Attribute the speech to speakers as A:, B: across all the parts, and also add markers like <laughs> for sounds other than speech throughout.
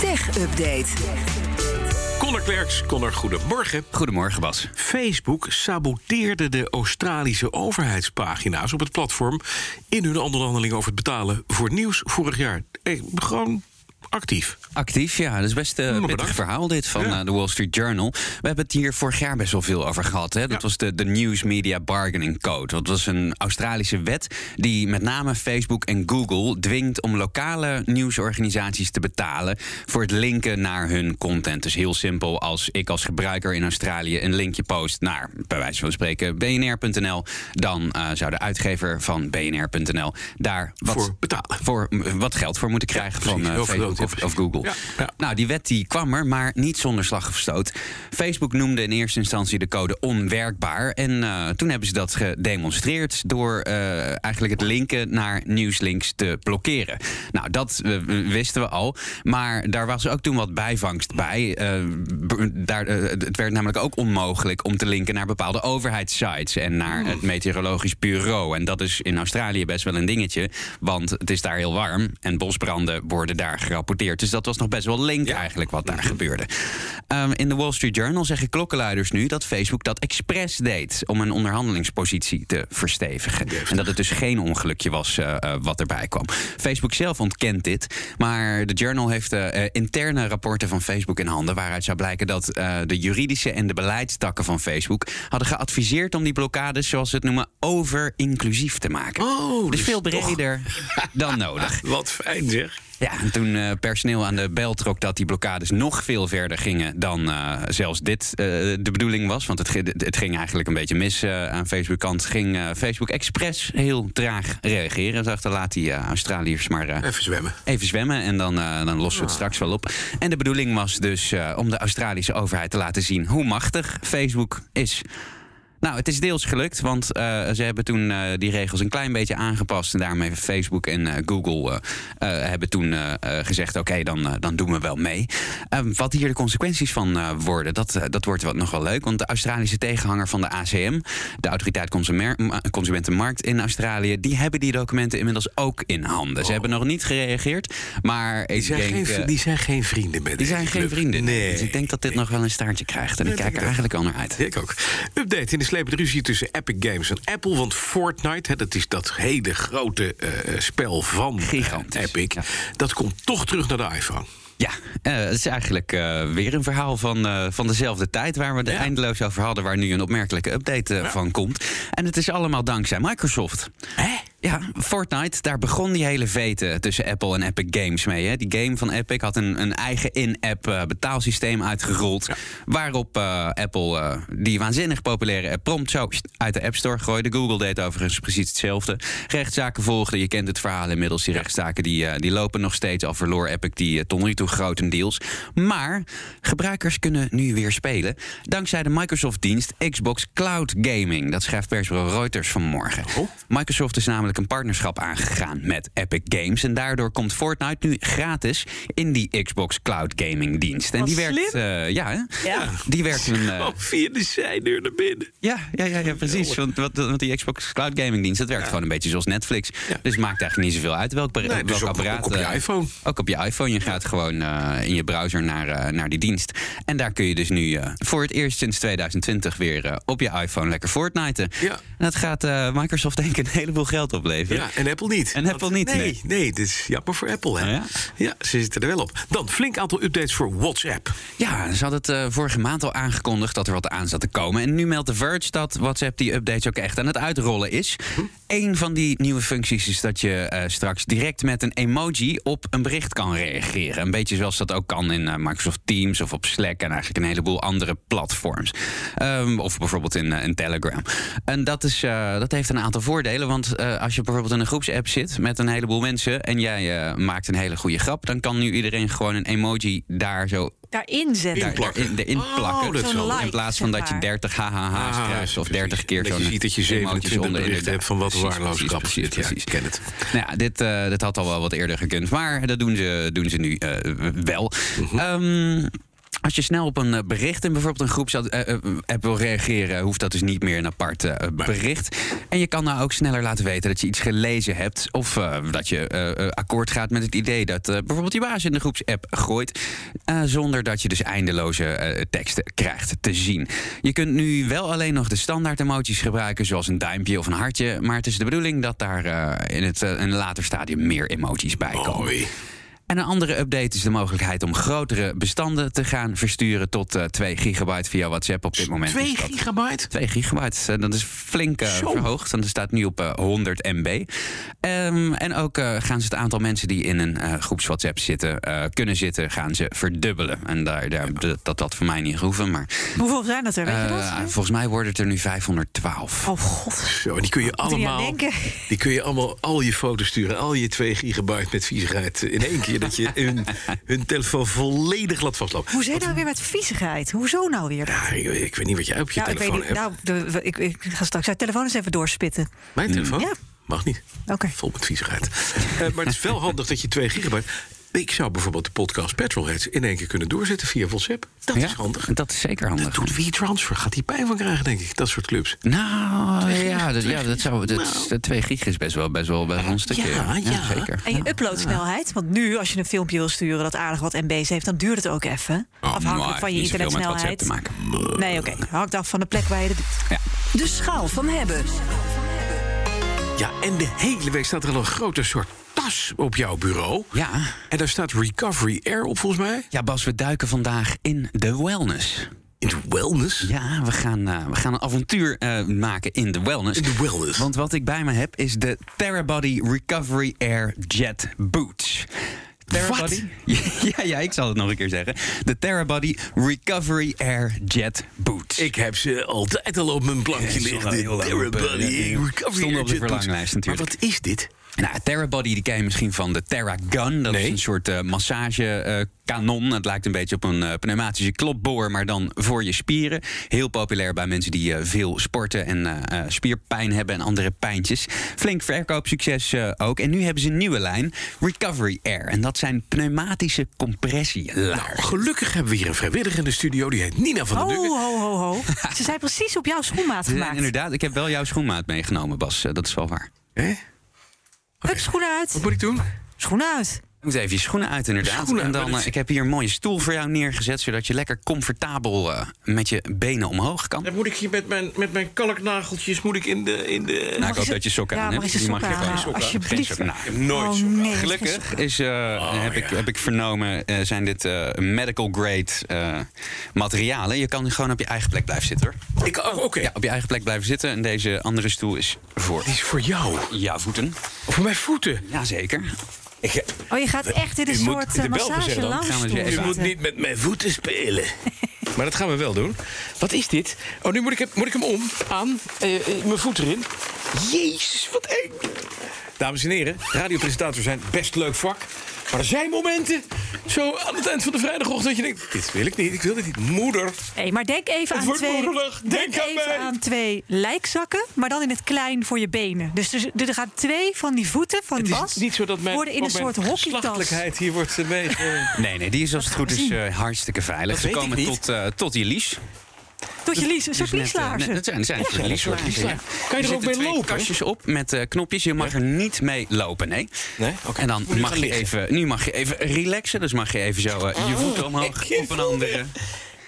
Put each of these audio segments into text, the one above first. A: Tech Update.
B: Connor Klerks, Connor, goedemorgen.
C: Goedemorgen, Bas.
B: Facebook saboteerde de Australische overheidspagina's op het platform in hun onderhandeling over het betalen voor nieuws vorig jaar. Eh, gewoon actief.
C: Actief, ja. Dat is best een
B: bedankt.
C: pittig verhaal dit van
B: Ja.
C: eh, de Wall Street Journal. We hebben het hier vorig jaar best wel veel over gehad. Hè? Dat
B: Ja.
C: was de, de News Media Bargaining Code. Dat was een Australische wet die met name Facebook en Google dwingt om lokale nieuwsorganisaties te betalen voor het linken naar hun content. Dus heel simpel, als ik als gebruiker in Australië een linkje post naar, bij wijze van spreken, bnr.nl, dan eh, zou de uitgever van bnr.nl daar wat
B: Voor betalen.
C: voor m- wat geld voor moeten krijgen van
B: precies.
C: eh,
B: Heel
C: Facebook
B: vergroot,
C: of,
B: ja,
C: of
B: precies.
C: Google.
B: Ja, ja.
C: Nou, die wet die kwam er, maar niet zonder slag of stoot. Facebook noemde in eerste instantie de code onwerkbaar. En eh, toen hebben ze dat gedemonstreerd door eh, eigenlijk het linken naar nieuwslinks te blokkeren. Nou, dat eh, wisten we al. Maar daar was ook toen wat bijvangst bij. Eh, b- daar, eh, het werd namelijk ook onmogelijk om te linken naar bepaalde overheidssites en naar het meteorologisch bureau. En dat is in Australië best wel een dingetje, want het is daar heel warm en bosbranden worden daar gerapporteerd. Dus dat was nog best wel link eigenlijk wat
B: Mhm.
C: daar gebeurde. Ehm, in de Wall Street Journal zeggen klokkenluiders nu dat Facebook dat expres deed om een onderhandelingspositie te verstevigen. En dat het dus geen ongelukje was eh, eh, wat erbij kwam. Facebook zelf ontkent dit, maar de Journal heeft eh, eh, interne rapporten van Facebook in handen waaruit zou blijken dat eh, de juridische en de beleidstakken van Facebook hadden geadviseerd om die blokkades, zoals ze het noemen, over-inclusief te maken.
B: Oh,
C: dus,
B: dus
C: veel
B: toch.
C: breder
B: <laughs>
C: dan nodig.
B: Wat fijn zeg.
C: Ja, en toen eh, personeel aan de bel trok dat die blokkades nog veel verder gingen dan eh, zelfs dit eh, de bedoeling was. Want het, ge- het ging eigenlijk een beetje mis eh, aan Facebook-kant. Ging eh, Facebook expres heel traag reageren. Ze dachten, laat die eh, Australiërs maar eh,
B: Even zwemmen.
C: Even zwemmen en dan, eh, dan lossen we het straks wel op. En de bedoeling was dus eh, om de Australische overheid te laten zien hoe machtig Facebook is. Nou, het is deels gelukt, want eh, ze hebben toen eh, die regels een klein beetje aangepast. En daarmee hebben Facebook en eh, Google eh, eh, hebben toen eh, eh, gezegd: oké, dan, eh, dan doen we wel mee. Eh, wat hier de consequenties van eh, worden, dat, eh, dat wordt wat nog wel leuk. Want de Australische tegenhanger van de ACM, de Autoriteit Consumer- Ma- Consumentenmarkt in Australië, die hebben die documenten inmiddels ook in handen. Ze hebben nog niet gereageerd, maar
B: Oh. Die
C: ik
B: zijn,
C: denk. eh,
B: geen, die zijn geen vrienden met
C: die zijn
B: deze
C: geen
B: club.
C: vrienden.
B: Nee.
C: Dus ik denk dat dit nog wel een staartje krijgt. En ik
B: denk
C: kijk er
B: het ook.
C: eigenlijk al naar uit.
B: Ik ook. Update in de slepende ruzie tussen Epic Games en Apple. Want Fortnite, hè, dat is dat hele grote eh, spel van eh,
C: Gigantisch,
B: Epic.
C: ja.
B: Dat komt toch terug naar de iPhone.
C: Ja, eh, het is eigenlijk eh, weer een verhaal van, eh, van dezelfde tijd... waar we het
B: Ja.
C: eindeloos over hadden... waar nu een opmerkelijke update eh, van komt. En het is allemaal dankzij Microsoft.
B: Hè?
C: Ja, Fortnite, daar begon die hele vete tussen Apple en Epic Games mee. Hè? Die game van Epic had een, een eigen in-app eh, betaalsysteem uitgerold... waarop eh, Apple eh, die waanzinnig populaire app prompt zo uit de App Store gooide. Google deed overigens precies hetzelfde. Rechtszaken volgden, je kent het verhaal inmiddels. Die rechtszaken die, eh, die lopen nog steeds al verloor Epic die eh, tot nu toe grotendeels. Maar gebruikers kunnen nu weer spelen... dankzij de Microsoft-dienst Xbox Cloud Gaming. Dat schrijft persbureau Reuters vanmorgen. Microsoft is namelijk een partnerschap aangegaan met Epic Games. En daardoor komt Fortnite nu gratis in die Xbox Cloud Gaming dienst. En die werkt. eh, ja, hè?
D: Ja.
C: Die werkt een. <laughs> eh,
B: <laughs> Oh, via de zijdeur naar binnen.
C: ja, ja, ja, ja, precies. Want, want, want die Xbox Cloud Gaming dienst, dat werkt gewoon een beetje zoals Netflix. Dus het maakt eigenlijk niet zoveel uit welk, bar-
B: Nee,
C: welk
B: dus ook-
C: apparaat.
B: ook op je
C: eh,
B: iPhone.
C: Ook op je iPhone. Je gaat gewoon eh, in je browser naar, eh, naar die dienst. En daar kun je dus nu eh, voor het eerst sinds 2020 weer eh, op je iPhone lekker Fortnite.
B: Ja.
C: En dat gaat eh, Microsoft denk ik een heleboel geld opleveren.
B: Ja, en Apple niet.
C: En Apple niet,
B: Nee, nee.
C: nee.
B: dit is jammer voor Apple. Hè?
C: Oh ja?
B: ja, ze zitten er wel op. Dan flink aantal updates voor WhatsApp.
C: Ja, ze hadden het eh, vorige maand al aangekondigd dat er wat aan zat te komen. En nu meldt The Verge dat WhatsApp die updates ook echt aan het uitrollen is. Een van die nieuwe functies is dat je eh, straks direct met een emoji op een bericht kan reageren. Een beetje zoals dat ook kan in eh, Microsoft Teams of op Slack en eigenlijk een heleboel andere platforms. Ehm, of bijvoorbeeld in, eh, in Telegram. En dat, is, eh, dat heeft een aantal voordelen. Want eh, als je bijvoorbeeld in een groepsapp zit met een heleboel mensen en jij eh, maakt een hele goede grap, dan kan nu iedereen gewoon een emoji daar zo
D: Daarin zetten.
C: daar-
B: Inplakken.
C: in- erin
B: Oh,
C: plakken.
B: dat is
D: Zo'n wel- like,
C: in plaats van
D: zeg
C: dat je
D: maar.
C: 30 haha's
B: Ah,
C: krijgt of
B: precies.
C: 30 keer
B: Dat je
C: zo'n
B: ziet dat je
C: emoji
B: 27
C: zonder,
B: berichten
C: inderdaad.
B: hebt van wat
C: Precies,
B: waardeloos
C: precies,
B: grap.
C: Precies,
B: Ja, ik
C: precies.
B: ken het.
C: Nou ja, dit, eh, dit
B: Mhm.
C: had al wel wat eerder gekund. Maar dat doen ze, doen ze nu eh, wel. Ehm, Als je snel op een eh, bericht in bijvoorbeeld een groepsapp eh, wil reageren, hoeft dat dus niet meer een apart eh, bericht. En je kan nou ook sneller laten weten dat je iets gelezen hebt. Of eh, dat je eh, eh, akkoord gaat met het idee dat eh, bijvoorbeeld je baas in de groepsapp gooit. eh, zonder dat je dus eindeloze eh, teksten krijgt te zien. Je kunt nu wel alleen nog de standaard emoties gebruiken, zoals een duimpje of een hartje. Maar het is de bedoeling dat daar eh, in het, eh, een later stadium meer emoties bij komen.
B: Mooi.
C: En een andere update is de mogelijkheid om grotere bestanden te gaan versturen tot eh 2 gigabyte via WhatsApp op dit moment.
B: 2
C: is dat
B: gigabyte?
C: 2 gigabyte, eh, dat is flink eh,
B: Zo.
C: verhoogd. En dat staat nu op eh, 100 MB. Ehm, en ook eh, gaan ze het aantal mensen die in een eh groeps WhatsApp zitten, eh, kunnen zitten, gaan ze verdubbelen. En daar, daar, dat, dat had voor mij niet hoeven. Maar
A: Hoeveel zijn dat er? Weet je dat?
C: eh, volgens mij worden het er nu 512.
A: Oh god.
B: Zo, en die kun je
A: Moet er niet aan
B: allemaal.
A: denken.
B: Die kun je allemaal al je foto's sturen, al je 2 gigabyte met viezigheid. eh, In één keer dat
C: <laughs>
B: je hun, hun telefoon volledig laat vastlopen.
A: Hoe zit nou weer met viezigheid? Hoezo nou weer?
B: Ja, Ah, ik, ik weet niet wat jij op je
A: nou, ik weet
B: telefoon
A: niet.
B: hebt.
A: Nou, de- we- ik, ik ga straks haar telefoon eens even doorspitten.
B: Mijn
C: mm,
B: telefoon?
A: Ja.
B: Mag niet.
A: Oké.
B: Vol met viezigheid. Eh, maar het is wel handig dat je 2 gigabyte... Ik zou bijvoorbeeld de podcast Petrolheads in één keer kunnen doorzetten via WhatsApp. Dat
C: Ja,
B: is handig.
C: Dat is zeker handig.
B: Dat doet WeTransfer. Gaat die pijn van krijgen, denk ik. Dat soort clubs.
C: Nou,
B: Twee
C: ja,
B: gig,
C: dat,
B: twee
C: ja,
B: gig.
C: dat zou. Dat,
B: Nou.
C: 2 gig is best wel, best wel, best wel een stukje.
B: Ja, ja.
C: zeker.
A: En je uploadsnelheid, want nu als je een filmpje wil sturen dat aardig wat MB's heeft, dan duurt het ook even. afhankelijk
C: Oh, maar
A: van je
C: niet zoveel met WhatsApp
A: internetsnelheid.
C: te maken.
A: Nee, oké. Hangt af van de plek waar je het doet.
C: Ja.
D: De schaal van hebben.
B: Ja, en de hele week staat er al een grote soort tas op jouw bureau.
C: Ja.
B: En daar staat Recovery Air op, volgens mij.
C: ja, Bas, we duiken vandaag in de wellness.
B: In de wellness.
C: Ja, we gaan, eh, we gaan een avontuur eh, maken in de wellness.
B: In de wellness.
C: Want wat ik bij me heb is de Therabody Recovery Air Jet Boots. Therabody? <laughs> Ja, ja, ik zal het nog een keer zeggen. De Therabody Recovery Air Jet Boots.
B: Ik heb ze altijd al op mijn plankje
C: Ja,
B: liggen.
C: stonden heel
B: De
C: lang op,
B: Therabody
C: eh, ja, die
B: Recovery
C: stonden op de
B: Air Jet Boots.
C: verlanglijst natuurlijk.
B: Maar wat is dit?
C: Nou, Therabody die ken je misschien van de Theragun. Dat is
B: Nee.
C: een soort eh, massagekanon. het lijkt een beetje op een eh, pneumatische klopboor, maar dan voor je spieren. Heel populair bij mensen die eh, veel sporten en eh, eh, spierpijn hebben en andere pijntjes. Flink verkoopsucces eh, ook. En nu hebben ze een nieuwe lijn, Recovery Air. En dat zijn pneumatische compressielaarzen.
B: Gelukkig hebben we hier een vrijwilliger in de studio. Die heet Nina van der
A: Ho,
B: Dungen.
A: ho, ho,
C: <laughs>
A: ho. Ze zijn precies op jouw schoenmaat
C: Ze zijn
A: gemaakt.
C: Inderdaad, ik heb wel jouw schoenmaat meegenomen, Bas. Eh, dat is wel waar.
B: Hè?
A: Hup, schoenen uit.
B: Wat moet ik doen?
A: Schoenen uit.
C: Je moet even je schoenen uit, inderdaad.
B: Schoenen
C: en dan,
B: uit, maar dat-
C: eh, ik heb hier een mooie stoel voor jou neergezet, zodat je lekker comfortabel eh, met je benen omhoog kan.
B: Dan
C: Nou,
B: moet ik hier met mijn, met mijn kalknageltjes moet ik in de... In de...
C: Nou, ik
A: je
C: hoop
A: ze-
C: dat je sokken
A: Ja,
C: aan hebt.
A: mag je
C: Die
A: sokken
C: gewoon-
A: aan,
C: Geen
A: alsjeblieft.
C: sokken. Nou,
B: Nooit
A: Oh
B: zo.
A: nee.
C: Gelukkig is, eh, heb, ik,
B: Oh, ja.
C: heb ik vernomen, eh, zijn dit eh, medical grade eh, materialen. Je kan gewoon op je eigen plek blijven zitten hoor.
B: Ik, oh, oké.
C: Ja, op je eigen plek blijven zitten. En deze andere stoel is voor
B: Die is voor jou.
C: jouw voeten.
B: Voor mijn voeten.
C: Jazeker.
B: Ik,
A: Oh, je gaat echt in een
B: U moet
A: soort
B: de
A: eh,
B: bel
A: massage
B: bezetten, dan
A: lounge
C: gaan we ze
A: stoel
C: even
B: Je
A: zitten.
B: moet niet met mijn voeten spelen. <laughs> Maar dat gaan we wel doen. Wat is dit? Oh, nu moet ik, hem- moet ik hem om, aan, eh, eh, mijn voet erin. Jezus, wat eng. Dames en heren, radiopresentator zijn best leuk vak. Maar er zijn momenten, zo aan het eind van de vrijdagochtend... dat je denkt, dit wil ik niet, ik wil dit niet. Moeder,
A: Hey, maar denk even aan
B: wordt
A: twee,
B: moeilijk. Denk aan
A: even
B: mij.
A: aan twee lijkzakken, maar dan in het klein voor je benen. Dus er, er gaan twee van die voeten van
B: het
A: Bas
B: is niet zo dat mijn,
A: worden in een
B: ook mijn
A: soort hockeytas.
B: geslachtelijkheid hier wordt eh, mee... eh,
C: Nee, nee, die is als het goed is
A: zien.
C: eh, hartstikke veilig.
B: Dat
C: Ze
B: weet ik
C: komen
B: niet.
C: tot, eh, tot die lies.
A: Tot je lies, een soort
C: Dus net, eh, net-
A: lieslaarzen.
C: Dat zijn, dat zijn een soort
B: Ja,
C: lieslaarzen,
B: een soort
C: ja.
B: lieslaarzen. Kan je er ook
C: zitten
B: mee
C: twee
B: lopen?
C: kastjes op met eh, knopjes. Je mag er niet mee lopen, nee.
B: Nee? Oké.
C: En dan
B: Moet je
C: mag
B: gaan
C: je
B: liggen.
C: even, nu mag je even relaxen. Dus mag je even zo eh, je voeten omhoog
B: Oh, ik
C: op een andere.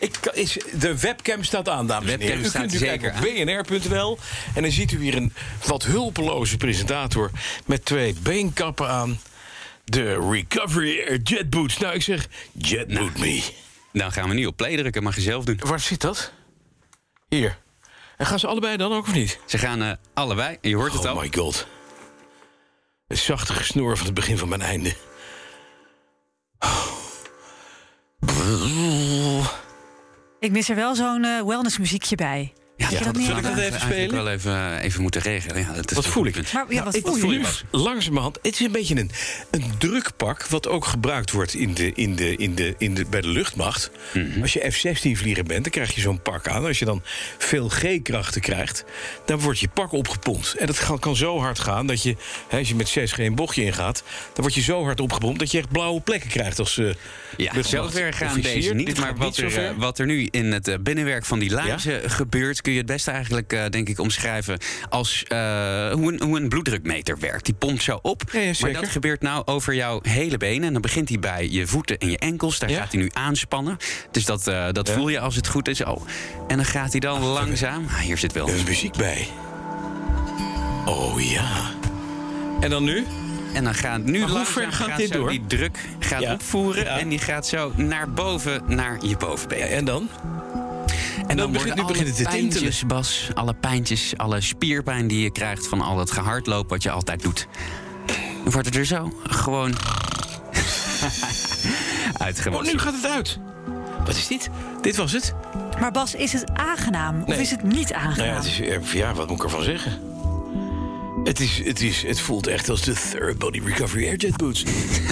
B: Ik, kan- is, de webcam staat aan, dames en
C: Webcam
B: heren. U
C: staat
B: kunt u
C: zeker
B: kijken op bnr.nl. En dan ziet u hier een wat hulpeloze presentator... met twee beenkappen aan. De Recovery Air Jet Boots. Nou, ik zeg, Jet Boot me.
C: Dan gaan we nu op play drukken. Mag je zelf doen.
B: Waar zit dat? Hier. En gaan ze allebei dan ook of niet?
C: Ze gaan eh, allebei. Je hoort het
B: Oh
C: al.
B: my god. Het zachte gesnoer van het begin van mijn einde.
A: Ik mis er wel zo'n eh, wellnessmuziekje bij. Had je
B: ja,
A: dat
B: dat
A: niet?
B: zal ik dat
A: gedaan?
B: even
C: eigenlijk
B: spelen?
C: wel even, eh, even moeten regelen. Ja, dat is
B: Wat
C: een
B: voel
C: goed
B: Nou, ik?
C: punt.
A: Maar ja, wat voel je?
B: nu langzamerhand. Het is een beetje een, een drukpak. wat ook gebruikt wordt in de, in de, in de, in de, bij de luchtmacht.
C: Mhm.
B: Als je F-16-vlieger bent, dan krijg je zo'n pak aan. Als je dan veel G-krachten krijgt, dan wordt je pak opgepompt. En dat kan, kan zo hard gaan dat je, hè, als je met 6G een bochtje ingaat. dan word je zo hard opgepompt dat je echt blauwe plekken krijgt. als eh
C: Ja,
B: luchtmacht-
C: zelfver gaan
B: officier.
C: deze niet.
B: Dit
C: Maar
B: gaat
C: wat
B: zo
C: er,
B: ver.
C: eh, wat er nu in het eh, binnenwerk van die laarzen gebeurt... kun je het beste eigenlijk, eh, denk ik, omschrijven... als eh, hoe, een, hoe een bloeddrukmeter werkt. Die pompt zo op.
B: Ja, ja,
C: maar
B: zeker.
C: dat gebeurt nou over jouw hele benen. En dan begint hij bij je voeten en je enkels. Daar
B: Ja.
C: gaat hij nu aanspannen. Dus dat, eh, dat
B: Ja.
C: voel je als het goed is. Oh. En dan gaat hij dan langzaam... Ah, hier zit wel...
B: Er is muziek bij. Oh ja. En dan nu?
C: En dan gaat nu
B: Maar hoe
C: langzaam
B: ver gaat
C: gaat
B: dit
C: zo
B: door?
C: die druk gaat
B: Ja.
C: opvoeren.
B: Ja.
C: En die gaat zo naar boven, naar je bovenbeen.
B: En dan? Dan
C: En dan,
B: begint-
C: worden
B: nu
C: alle
B: begint het te tintelen.
C: pijntjes, Bas, alle pijntjes, alle spierpijn die je krijgt van al het gehardloop wat je altijd doet. Dan wordt het er zo gewoon <laughs>
B: Oh,
C: uitgewassen.
B: nu gaat het uit. Wat is dit? Dit was het.
A: Maar Bas, is het aangenaam of
B: Nee.
A: is het niet
B: Nou ja,
A: aangenaam?
B: het is, eh, ja wat moet ik ervan zeggen? Het, is, het, is, het voelt echt als de Third Body Recovery Airjet
C: <laughs>
B: Boots.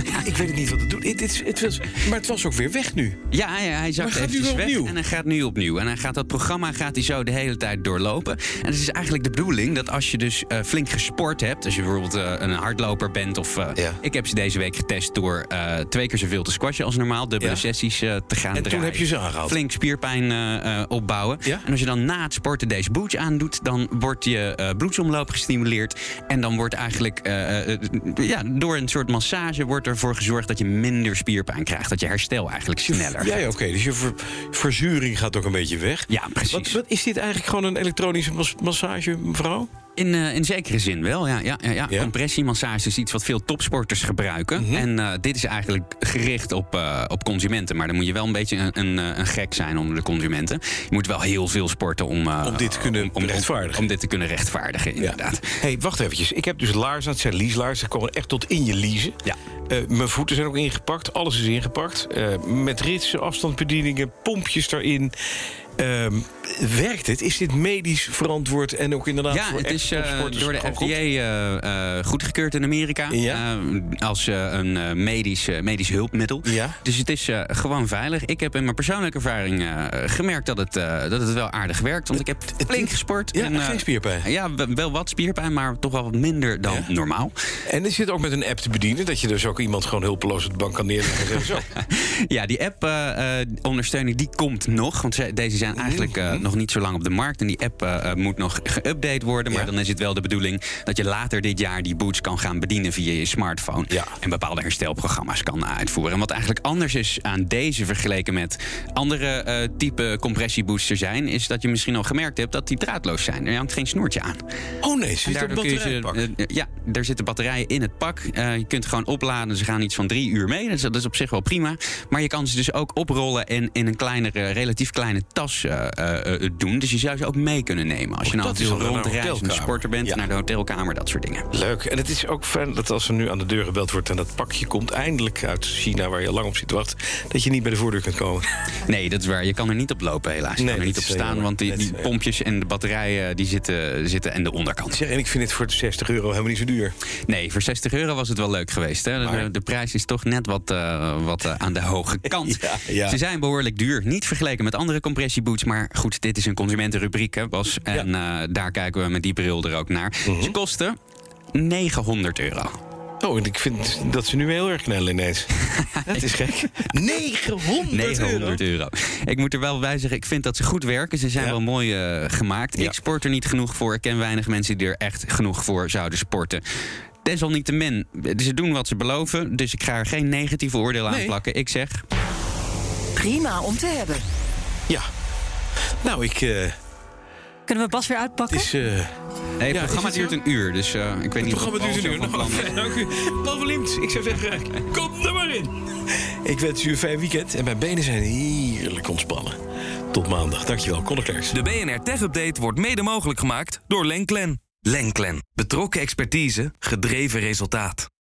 B: ja, ik weet het niet wat het doet. Het, is- het was, maar het was ook weer weg nu.
C: Ja, ja, hij
B: Maar
C: zakt
B: gaat nu
C: eventjes
B: weer
C: weg
B: opnieuw?
C: en hij gaat nu opnieuw. En hij gaat dat programma gaat hij zo de hele tijd doorlopen. En het is eigenlijk de bedoeling dat als je dus eh, flink gesport hebt... als je bijvoorbeeld eh, een hardloper bent of... eh,
B: Ja.
C: Ik heb ze deze week getest door eh, twee keer zoveel te squashen als normaal. Dubbele
B: Ja.
C: sessies eh, te gaan
B: En toen
C: draaien.
B: heb je ze aangehaald?
C: Flink spierpijn eh, eh, opbouwen.
B: Ja.
C: En als je dan na het sporten deze boots aandoet... dan wordt je eh, bloedsomloop gestimuleerd. En dan wordt eigenlijk eh, eh, ja, door een soort massage... wordt ervoor gezorgd dat je minder spierpijn krijgt. Dat je herstel eigenlijk sneller
B: Ja, ja oké. dus je ver- verzuring gaat ook een beetje weg.
C: ja, precies.
B: Wat, wat is dit eigenlijk gewoon een elektronische mas- massage, mevrouw?
C: In, eh, in zekere zin wel, ja. ja, ja, ja.
B: Ja? Mhm.
C: Compressiemassage is iets wat veel topsporters gebruiken. En eh, dit is eigenlijk gericht op, eh, op consumenten. Maar dan moet je wel een beetje een, een, eh, een gek zijn onder de consumenten. Je moet wel heel veel sporten om... eh,
B: Om dit te kunnen rechtvaardigen.
C: Om, dit te kunnen rechtvaardigen, inderdaad.
B: Hé, hey, wacht eventjes. Ik heb dus laarzen. Het zijn lieslaarzen. Ze komen echt tot in je liezen.
C: Ja.
B: Eh, mijn voeten zijn ook ingepakt. Alles is ingepakt. Eh, met ritsen, afstandsbedieningen, pompjes daarin. Ehm, werkt het? Is dit medisch verantwoord en ook inderdaad
C: Ja,
B: voor
C: het
B: echt
C: is eh,
B: topsporters
C: door de
B: gewoon
C: FDA
B: goed?
C: eh, eh, goedgekeurd in Amerika.
B: Ja.
C: Eh, als eh, een eh, medisch, eh, medisch hulpmiddel.
B: Ja.
C: Dus het is eh, gewoon veilig. Ik heb in mijn persoonlijke ervaring eh, gemerkt dat het, eh, dat het wel aardig werkt. Want ik heb flink gesport.
B: Ja,
C: eh,
B: geen spierpijn.
C: Ja, w- wel wat spierpijn, maar toch wel wat minder dan
B: Ja.
C: normaal.
B: En is dit ook met een app te bedienen? Dat je dus ook iemand gewoon hulpeloos op de bank kan neerleggen en
C: <laughs>
B: zeggen, zo.
C: Ja, die app-ondersteuning die komt nog. Want ze- deze zijn eigenlijk
B: Mm-hmm.
C: eh, nog niet zo lang op de markt. En die app eh, eh, moet nog geüpdate worden. Maar
B: Ja.
C: dan is het wel de bedoeling dat je later dit jaar die boots kan gaan bedienen via je smartphone.
B: Ja.
C: En bepaalde herstelprogramma's kan uitvoeren. En wat eigenlijk anders is aan deze vergeleken met andere eh type compressieboots er zijn, is dat je misschien al gemerkt hebt dat die draadloos zijn. Er hangt geen snoertje aan.
B: Oh nee, ze
C: En
B: zit op
C: daardoor kun je ze-
B: batterijpak.
C: eh, ja, er zitten batterijen in het pak. Eh, je kunt gewoon opladen. Ze gaan iets van drie uur mee. Dus dat is op zich wel prima. Maar je kan ze dus ook oprollen en in een kleinere, relatief kleine tas eh, eh, eh, doen. Dus je zou ze ook mee kunnen nemen. Als je
B: Oh,
C: nou
B: dat is
C: veel
B: wel naar een
C: rondreizende
B: hotelkamer.
C: sporter bent,
B: Ja.
C: naar de hotelkamer, dat soort dingen.
B: Leuk. En het is ook fijn dat als er nu aan de deur gebeld wordt... en dat pakje komt eindelijk uit China, waar je lang op zit te wachten... dat je niet bij de voordeur kunt komen.
C: Nee, dat is waar. Je kan er niet op lopen, helaas. Je
B: Nee,
C: kan er
B: dat
C: niet op
B: is eh, heel
C: staan,
B: jammer.
C: want die,
B: Dat is
C: die
B: heel jammer.
C: pompjes en de batterijen eh, die zitten, zitten en de
B: <laughs>
C: onderkant.
B: Zeg, en ik vind dit voor 60 euro helemaal niet zo duur.
C: Nee, voor 60 euro was het wel leuk geweest. Hè? De-
B: Maar-
C: De, de prijs is toch net wat, eh, wat eh, aan de
B: <laughs>
C: hoge kant.
B: Ja, ja.
C: Ze zijn behoorlijk duur. Niet vergeleken met andere compressieboots. Maar goed, dit is een consumentenrubriek, hè, Bas. En eh, daar kijken we met die bril er ook naar.
B: Mhm.
C: Ze kosten 900 euro.
B: Oh, en ik vind dat ze nu heel erg knellen <laughs> ineens. dat is gek. 900,
C: 900
B: euro.
C: euro. <laughs> Ik moet er wel bij zeggen, ik vind dat ze goed werken. Ze zijn
B: Ja.
C: wel mooi eh, gemaakt.
B: Ja.
C: Ik sport er niet genoeg voor. Ik ken weinig mensen die er echt genoeg voor zouden sporten. Desalniettemin, ze doen wat ze beloven. Dus ik ga er geen negatieve oordeel aan
B: Nee.
C: plakken. Ik zeg,
D: Prima om te hebben.
B: Ja. Nou, ik... eh,
A: Kunnen we Bas weer
B: het
A: uitpakken?
B: is... eh
C: Nee, het
B: Ja,
C: programma
B: is het
C: duurt
B: zo?
C: een uur, dus eh, ik weet
B: het
C: niet of
B: programma duurt
C: Paul
B: een uur.
C: zo van
B: Nou,
C: plan
B: dank
C: is.
B: u. Paul van Liemt, ik zou zeggen, kom er maar in. Ik wens u een fijn weekend. En mijn benen zijn heerlijk ontspannen. Tot maandag. Dankjewel, Conor Klerks.
E: De BNR Tech Update wordt mede mogelijk gemaakt door Lenklen. Lenklen. Betrokken expertise, gedreven resultaat.